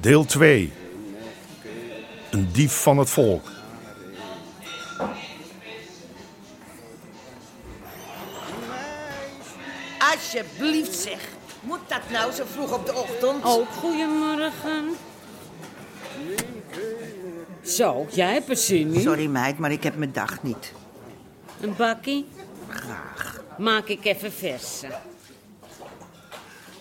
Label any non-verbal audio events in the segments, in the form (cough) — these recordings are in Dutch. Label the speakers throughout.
Speaker 1: Deel 2. Een dief van het volk.
Speaker 2: Alsjeblieft zeg. Moet dat nou zo vroeg op de ochtend?
Speaker 3: Oh, goedemorgen. Zo, jij hebt er zin in.
Speaker 2: Sorry meid, maar ik heb mijn dag niet.
Speaker 3: Een bakkie
Speaker 2: Graag.
Speaker 3: maak ik even verse.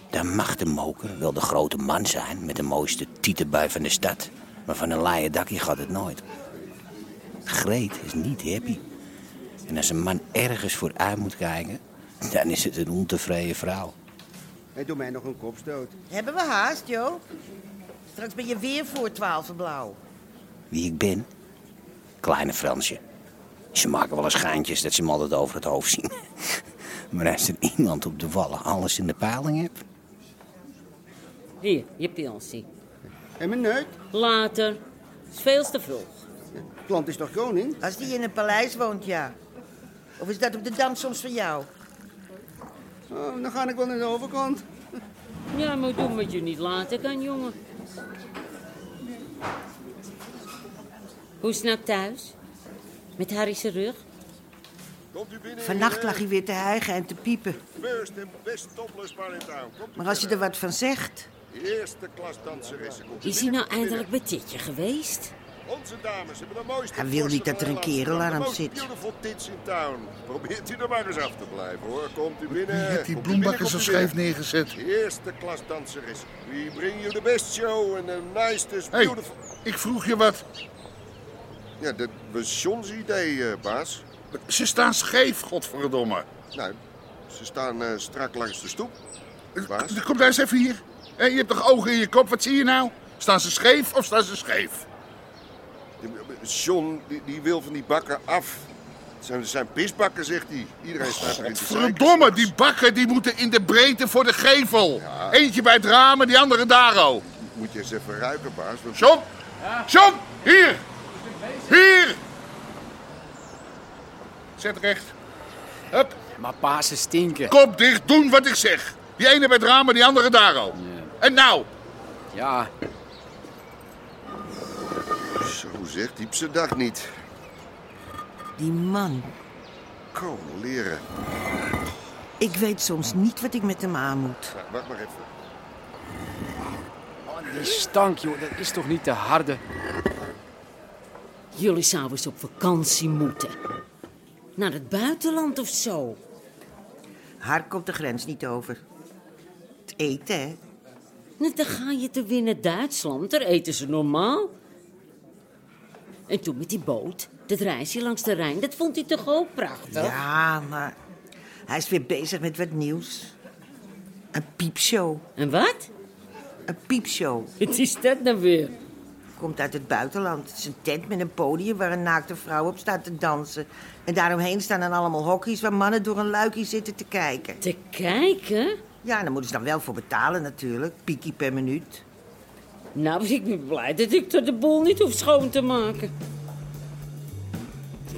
Speaker 4: Dan mag de moker wel de grote man zijn met de mooiste tietenbui van de stad. Maar van een laaie dakje gaat het nooit. Greet is niet happy. En als een man ergens vooruit moet kijken, dan is het een ontevreden vrouw.
Speaker 5: En doe mij nog een kopstoot.
Speaker 2: Hebben we haast, Jo? Straks ben je weer voor twaalf blauw.
Speaker 4: Wie ik ben? Kleine Fransje. Ze maken wel eens geintjes dat ze hem altijd over het hoofd zien. (laughs) Maar als er iemand op de wallen alles in de paling hebt...
Speaker 3: Hier, je pilsie.
Speaker 5: En mijn neut?
Speaker 3: Later. Is veel te vroeg.
Speaker 5: Klant is toch koning?
Speaker 2: Als die in een paleis woont, ja. Of is dat op de dam soms van jou?
Speaker 5: Oh, dan ga ik wel naar de overkant.
Speaker 3: Ja, maar doe met je niet later kan, jongen. Hoe is het nou thuis? Met Harry zijn rug?
Speaker 2: Vannacht lag hij weer te hijgen en te piepen.
Speaker 6: First en best toplosbaar in town. Komt
Speaker 2: Maar als je er wat van zegt...
Speaker 6: de eerste klas danseressen. Komt
Speaker 3: Is hij nou eindelijk bij Titje geweest?
Speaker 6: Onze dames hebben de mooiste...
Speaker 2: Hij wil niet dat er een kerel aan hem zit.
Speaker 6: De most beautiful tits in town. Probeert u er maar eens af te blijven hoor. Komt u binnen.
Speaker 7: Je hebt
Speaker 6: Eh,
Speaker 7: die
Speaker 6: komt u
Speaker 7: bloembakken zo
Speaker 6: binnen,
Speaker 7: scheef
Speaker 6: komt u
Speaker 7: neergezet.
Speaker 6: binnen. Eerste klas danseressen. We bring you the best show and the nicest
Speaker 7: Hé, hey,
Speaker 6: beautiful...
Speaker 7: ik vroeg je wat.
Speaker 6: Ja, dat was John's idee, eh, baas.
Speaker 7: Ze staan scheef, godverdomme.
Speaker 6: Nou, ze staan eh, strak langs de stoep. Baas?
Speaker 7: Kom daar eens even hier. Hé, je hebt toch ogen in je kop, wat zie je nou? Staan ze scheef of staan ze scheef?
Speaker 6: John, die, die wil van die bakken af. Het zijn, het zijn pisbakken, zegt hij. Iedereen staat erin te zeiken.
Speaker 7: Verdomme, die bakken die moeten in de breedte voor de gevel. Eentje bij het raam en die andere daar al.
Speaker 6: Moet je eens even ruiken, baas. want-
Speaker 7: John, John, hier. Hier. Zet recht. Hup,
Speaker 8: Maar Pasen stinken.
Speaker 7: kop dicht, doen wat ik zeg. Die ene bij het raam en die andere daar al. En nou,
Speaker 8: Ja,
Speaker 6: Zo zegt diep zijn dag niet.
Speaker 2: Die man.
Speaker 6: Kom, leren.
Speaker 2: Ik weet soms niet wat ik met hem aan moet.
Speaker 6: Nou, wacht maar even.
Speaker 8: die stank, joh. Dat is toch niet te harde?
Speaker 3: Jullie zouden eens op vakantie moeten. Naar het buitenland of zo.
Speaker 2: Haar komt de grens niet over. Het eten, hè?
Speaker 3: Nou, dan ga je te winnen Duitsland. Daar eten ze normaal. En toen met die boot, dat reisje langs de Rijn, dat vond hij toch ook prachtig?
Speaker 2: Ja, maar hij is weer bezig met wat nieuws. Een piepshow.
Speaker 3: En wat?
Speaker 2: Een piepshow.
Speaker 3: Het is dat nou weer?
Speaker 2: Komt uit het buitenland. Het is een tent met een podium waar een naakte vrouw op staat te dansen. En daaromheen staan dan allemaal hokjes waar mannen door een luikje zitten te kijken.
Speaker 3: Te kijken?
Speaker 2: Ja, daar moeten ze dan wel voor betalen natuurlijk. Piekie per minuut.
Speaker 3: Nou, ik ben blij dat ik er de boel niet hoef schoon te maken.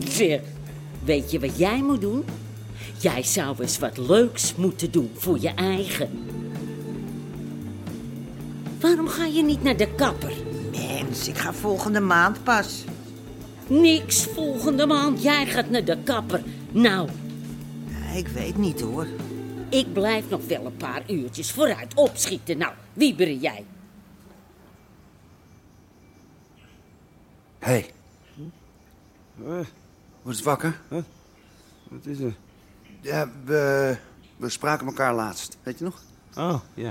Speaker 3: Zeg, weet je wat jij moet doen? Jij zou eens wat leuks moeten doen voor je eigen. Waarom ga je niet naar de kapper?
Speaker 2: Mens, ik ga volgende maand pas.
Speaker 3: Niks volgende maand. Jij gaat naar de kapper. Nou,
Speaker 2: Ik weet niet hoor.
Speaker 3: ik blijf nog wel een paar uurtjes vooruit opschieten. Nou, wieberen jij.
Speaker 4: Hé, hey,
Speaker 9: Wordt het wakker?
Speaker 5: Wat is er?
Speaker 9: Ja, we, we spraken elkaar laatst. Weet je nog?
Speaker 5: Oh, ja.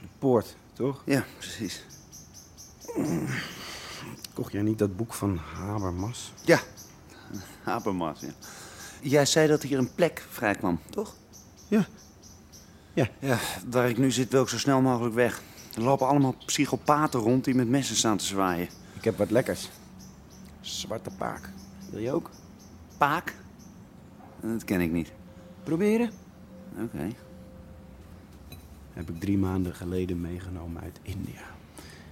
Speaker 5: De poort, toch?
Speaker 9: Ja, precies.
Speaker 5: Kocht jij niet dat boek van Habermas?
Speaker 9: Ja. Habermas, ja. Jij zei dat hier een plek vrij kwam, toch? Ja. ja. Ja, waar ik nu zit wil ik zo snel mogelijk weg. Er lopen allemaal psychopaten rond die met messen staan te zwaaien.
Speaker 10: Ik heb wat lekkers. Zwarte paak. Wil je ook?
Speaker 9: Paak? Dat ken ik niet.
Speaker 10: Proberen?
Speaker 9: Oké.
Speaker 10: Heb ik drie maanden geleden meegenomen uit India.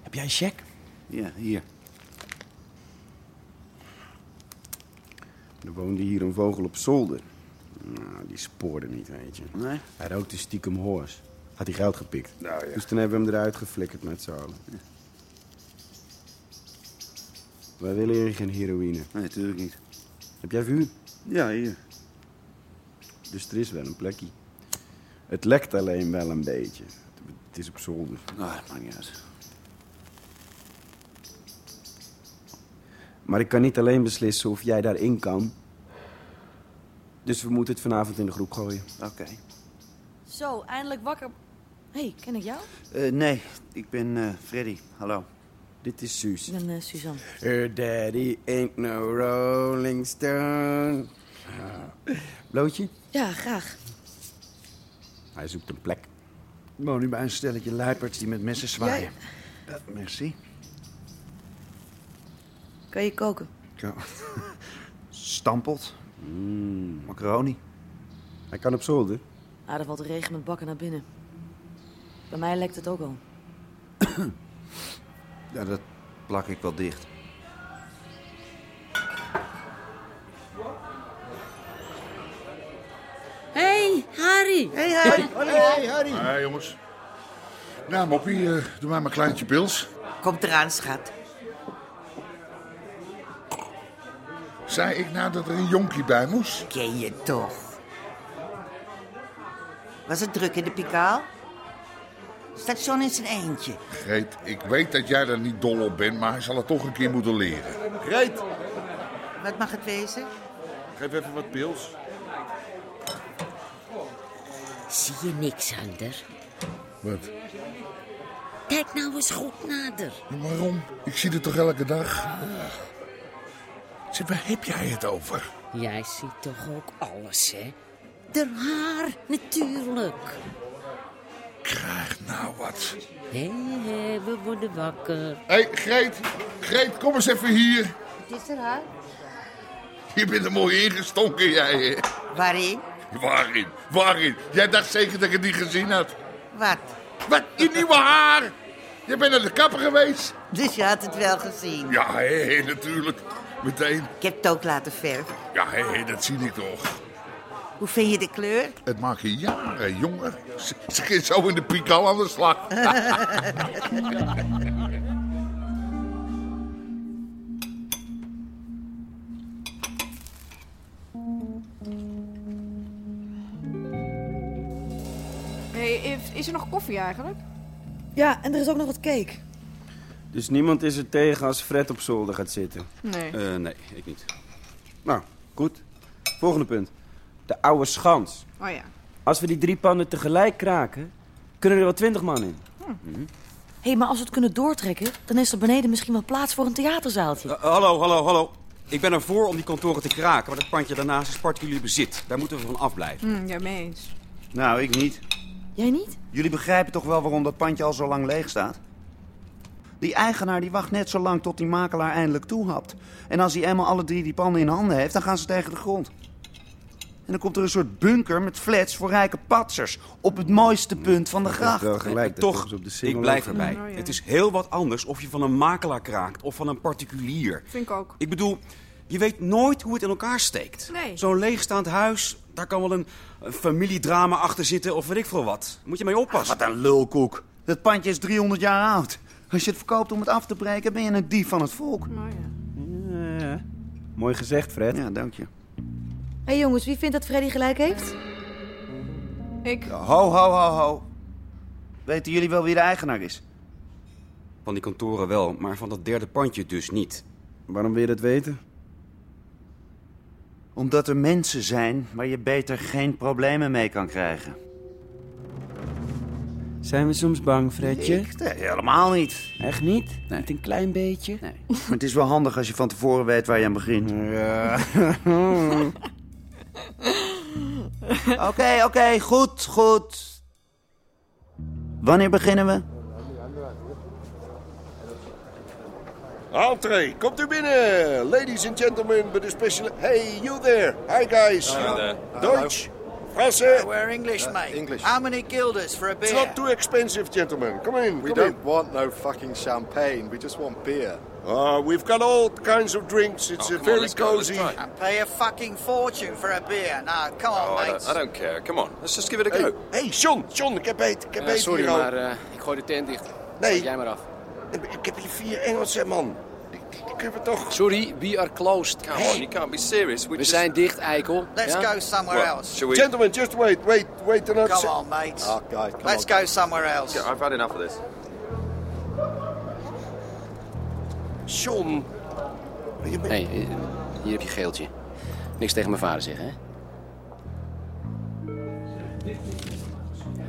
Speaker 10: Heb jij een check?
Speaker 9: Ja, hier.
Speaker 10: Er woonde hier een vogel op zolder. Nou, die spoorde niet, weet je.
Speaker 9: Nee? Nou,
Speaker 10: Hij rookte stiekem hoors. Had hij geld gepikt. Dus toen hebben we hem eruit geflikkerd met z'n allen. Wij willen hier geen heroïne.
Speaker 9: Nee, natuurlijk niet.
Speaker 10: Heb jij vuur?
Speaker 9: Ja, hier.
Speaker 10: Dus er is wel een plekje. Het lekt alleen wel een beetje. Het is op zolder.
Speaker 9: Ah, dat maakt niet uit.
Speaker 10: Maar ik kan niet alleen beslissen of jij daarin kan. Dus we moeten het vanavond in de groep gooien.
Speaker 9: Oké.
Speaker 11: Zo, eindelijk wakker. Hé, hey, ken ik jou?
Speaker 9: Eh, nee, ik ben eh, Freddy. Hallo.
Speaker 10: Dit is Suus.
Speaker 11: Ik ben eh, Suzanne.
Speaker 10: Her daddy ain't no rolling stone. Blootje?
Speaker 11: Ja, graag.
Speaker 10: Hij zoekt een plek.
Speaker 9: Ik woon nu bij een stelletje luiperds die met messen zwaaien. Eh, merci.
Speaker 11: Kan je koken?
Speaker 9: Zo. (laughs) Stampot.
Speaker 10: Mm.
Speaker 9: Macaroni.
Speaker 10: Hij kan op zolder.
Speaker 11: Ah, er valt regen met bakken naar binnen. Bij mij lekt het ook al.
Speaker 9: Ja, dat plak ik wel dicht.
Speaker 3: Hé, hey, Harry.
Speaker 2: Hé, hey,
Speaker 7: Hey, Harry. Hey, jongens. Nou, Moppie, eh, doe maar mijn kleintje pils.
Speaker 2: Komt eraan, schat.
Speaker 7: Zei ik nou dat er een jonkie bij moest?
Speaker 2: Ken je toch? Was het druk in de Pikaal? Station in zijn eentje.
Speaker 7: Greet, ik weet dat jij daar niet dol op bent, maar hij zal het toch een keer moeten leren.
Speaker 6: Greet,
Speaker 2: Wat mag het wezen?
Speaker 6: geef even wat pils.
Speaker 3: Zie je niks, Hander?
Speaker 7: Wat?
Speaker 3: Kijk nou eens goed nader.
Speaker 7: Waarom? Ik zie het toch elke dag? Zeg, waar heb jij het over?
Speaker 3: Jij ziet toch ook alles, hè? De haar, natuurlijk.
Speaker 7: Krijg nou wat.
Speaker 3: Hé, hé, we worden wakker.
Speaker 7: Hé, hey, Greet. Greet, kom eens even hier.
Speaker 2: Het is er haar.
Speaker 7: Je bent er mooi ingestonken, jij. hè?
Speaker 2: Waarin?
Speaker 7: Waarin? Waarin? Jij dacht zeker dat ik het niet gezien had.
Speaker 2: Wat?
Speaker 7: Wat? Je nieuwe haar? Je bent naar de kapper geweest?
Speaker 2: Dus je had het wel gezien.
Speaker 7: Ja, hé, hé, natuurlijk. Meteen.
Speaker 2: Ik heb het ook laten verven.
Speaker 7: Ja, hé, hé, dat zie ik toch.
Speaker 2: Hoe vind je de kleur?
Speaker 7: Het maakt je jaren jonger. Ze, ze ging zo in de piek al aan de slag.
Speaker 12: is er nog koffie eigenlijk?
Speaker 11: Ja, en er is ook nog wat cake.
Speaker 10: Dus niemand is er tegen als Fred op zolder gaat zitten?
Speaker 12: Nee.
Speaker 10: Eh, nee, ik niet. Nou, goed. Volgende punt. De oude schans.
Speaker 12: Oh ja.
Speaker 10: Als we die drie panden tegelijk kraken, kunnen er wel twintig man in.
Speaker 11: Hé, maar als we het kunnen doortrekken, dan is er beneden misschien wel plaats voor een theaterzaaltje.
Speaker 13: Eh, hallo, hallo, hallo. Ik ben ervoor om die kantoren te kraken, maar dat pandje daarnaast is particulier bezit. Daar moeten we van afblijven.
Speaker 12: Hm, ja, mee eens.
Speaker 9: Nou, ik niet.
Speaker 11: Jij niet?
Speaker 9: Jullie begrijpen toch wel waarom dat pandje al zo lang leeg staat? Die eigenaar die wacht net zo lang tot die makelaar eindelijk toehapt. En als hij eenmaal alle drie die panden in handen heeft, dan gaan ze tegen de grond. En dan komt er een soort bunker met flats voor rijke patsers. Op het mooiste punt van de gracht.
Speaker 10: Wel gelijk, dat
Speaker 13: Toch,
Speaker 10: komt op de single
Speaker 13: ik blijf
Speaker 10: over.
Speaker 13: erbij.
Speaker 12: Oh, ja.
Speaker 13: Het is heel wat anders of je van een makelaar kraakt of van een particulier.
Speaker 12: Vind ik ook.
Speaker 13: Ik bedoel, je weet nooit hoe het in elkaar steekt.
Speaker 12: Nee.
Speaker 13: Zo'n leegstaand huis, daar kan wel een, een familiedrama achter zitten of weet ik veel wat. Moet je mee oppassen.
Speaker 9: Wat een lulkoek. Dat pandje is 300 jaar oud. Als je het verkoopt om het af te breken, ben je een dief van het volk.
Speaker 12: Oh ja.
Speaker 10: Ja. Eh, Mooi gezegd, Fred.
Speaker 9: Ja, dank je.
Speaker 11: Hé jongens, wie vindt dat Freddy gelijk heeft?
Speaker 12: Ik.
Speaker 9: Ho, ho, ho, ho. Weten jullie wel wie de eigenaar is?
Speaker 13: Van die kantoren wel, maar van dat derde pandje dus niet.
Speaker 10: Waarom wil je dat weten?
Speaker 9: Omdat er mensen zijn waar je beter geen problemen mee kan krijgen.
Speaker 14: Zijn we soms bang, Fredje?
Speaker 9: Ik? Nee, helemaal niet.
Speaker 14: Echt niet? Niet een klein beetje? (laughs) Nee.
Speaker 9: Maar het is wel handig als je van tevoren weet waar je aan begint. Ja. Oké, (laughs) oké, goed, goed. Wanneer beginnen we?
Speaker 6: Entree, komt u binnen. Ladies and gentlemen, with a special... Hey, you there. Hi, guys. Deutsch. Franse.
Speaker 2: We're English, mate. Ah, English. How many guilders for a beer?
Speaker 6: It's not too expensive, gentlemen. Come in.
Speaker 15: We
Speaker 6: come
Speaker 15: don't want no fucking champagne. We just want beer.
Speaker 6: in. Uh, we've got all kinds of drinks.
Speaker 16: Oh,
Speaker 6: It's uh, very cozy.
Speaker 2: I pay a fucking fortune for a beer. No, come on,
Speaker 16: Oh, I
Speaker 2: mates.
Speaker 16: don't, I don't care. Come on. Let's just give it a
Speaker 6: Hey,
Speaker 16: go.
Speaker 6: hey, John, John, ik heb eet, ik heb
Speaker 16: Eh,
Speaker 6: eet
Speaker 16: sorry,
Speaker 6: hier al.
Speaker 16: maar, eh,
Speaker 4: Ik gooi de tent dicht.
Speaker 6: Nee.
Speaker 4: Jij maar af.
Speaker 6: Ik heb hier vier Engelsen, man. Die- die- die kunnen we toch...
Speaker 4: Sorry, we are closed.
Speaker 6: Come on, you
Speaker 16: can't be serious.
Speaker 4: We zijn dicht, eikel.
Speaker 2: Let's
Speaker 4: Ja?
Speaker 2: go somewhere else.
Speaker 6: Gentlemen, just wait, wait, wait another...
Speaker 2: Come
Speaker 6: se-
Speaker 2: on, mates.
Speaker 6: Ah, guys, come
Speaker 2: Let's
Speaker 6: on.
Speaker 2: go somewhere else.
Speaker 16: I've had enough of this.
Speaker 6: John.
Speaker 4: hey, eh, hier heb je geeltje. Niks tegen mijn vader zeggen, hè?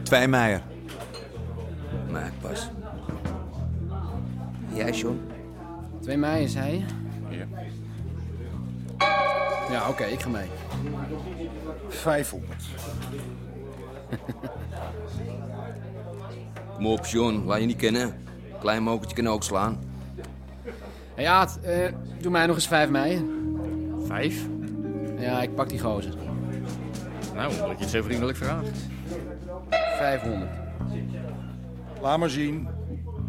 Speaker 17: 2 meier. Maak pas. Jij, John?
Speaker 4: 2 mei, zei je?
Speaker 17: Ja.
Speaker 4: Ja, oké, ik ga mee.
Speaker 17: 500. Kom op, John. Laat je niet kennen. Klein mokertje kan ook slaan.
Speaker 4: Hey, Aad, eh, doe mij nog eens 5 mei. Vijf? Ja, ik pak die gozer.
Speaker 7: Nou, omdat je het zo vriendelijk vraagt.
Speaker 4: 500.
Speaker 7: Laat maar zien.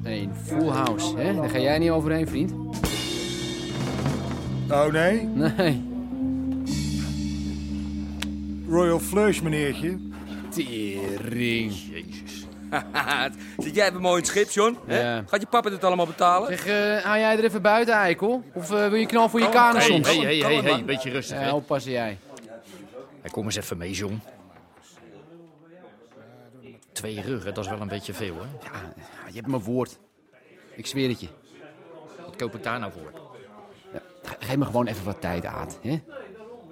Speaker 4: Een full house, hè? Daar ga jij niet overheen, vriend.
Speaker 7: Oh nee?
Speaker 4: Nee.
Speaker 7: Royal Flush, meneertje.
Speaker 17: Tering.
Speaker 7: (laughs)
Speaker 17: Jezus. Zit jij even mooi in het schip, John? Hè?
Speaker 4: Ja.
Speaker 17: Gaat je papa dit allemaal betalen?
Speaker 4: Zeg, eh, haal jij er even buiten, eikel? Of eh, wil je knal voor je kanen
Speaker 7: Oh, hey,
Speaker 4: soms?
Speaker 7: hey, hey, hey, hey, beetje rustig,
Speaker 4: Ja,
Speaker 7: hè?
Speaker 4: oppassen jij.
Speaker 7: Hey, kom eens even mee, John. Twee ruggen, dat is wel een beetje veel, hè? Ja,
Speaker 4: je hebt mijn woord. Ik zweer het je.
Speaker 7: Wat koop ik daar nou voor?
Speaker 4: Ge- Geef me gewoon even wat tijd, Aad. Hè?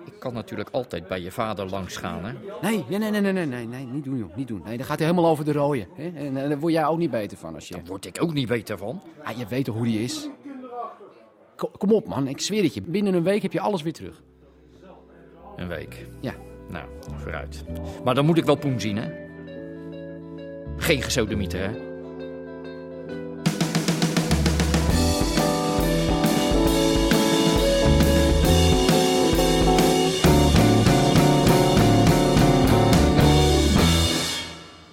Speaker 7: Ik kan natuurlijk altijd bij je vader langs gaan, hè?
Speaker 4: Nee, nee, nee, nee, nee, nee, nee, nee, niet doen, joh. Niet doen. Nee, dan gaat hij helemaal over de rode. Hè? En eh, daar word jij ook niet beter van als je... Daar
Speaker 7: word ik ook niet beter van.
Speaker 4: Ah, je weet toch hoe die is? Ko- kom op, man. Ik zweer het je. Binnen een week heb je alles weer terug.
Speaker 7: Een week.
Speaker 4: Ja.
Speaker 7: Nou, vooruit. Maar dan moet ik wel poen zien, hè? Geen gesodemieter, hè?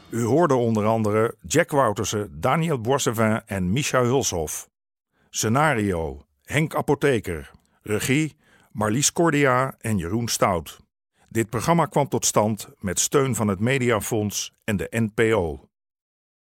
Speaker 1: U hoorde onder andere Jack Woutersen, Daniel Boissevin en Micha Hulshof. Scenario: Henk Apotheker. Regie: Marlies Cordia en Jeroen Stout. Dit programma kwam tot stand met steun van het Mediafonds en de NPO.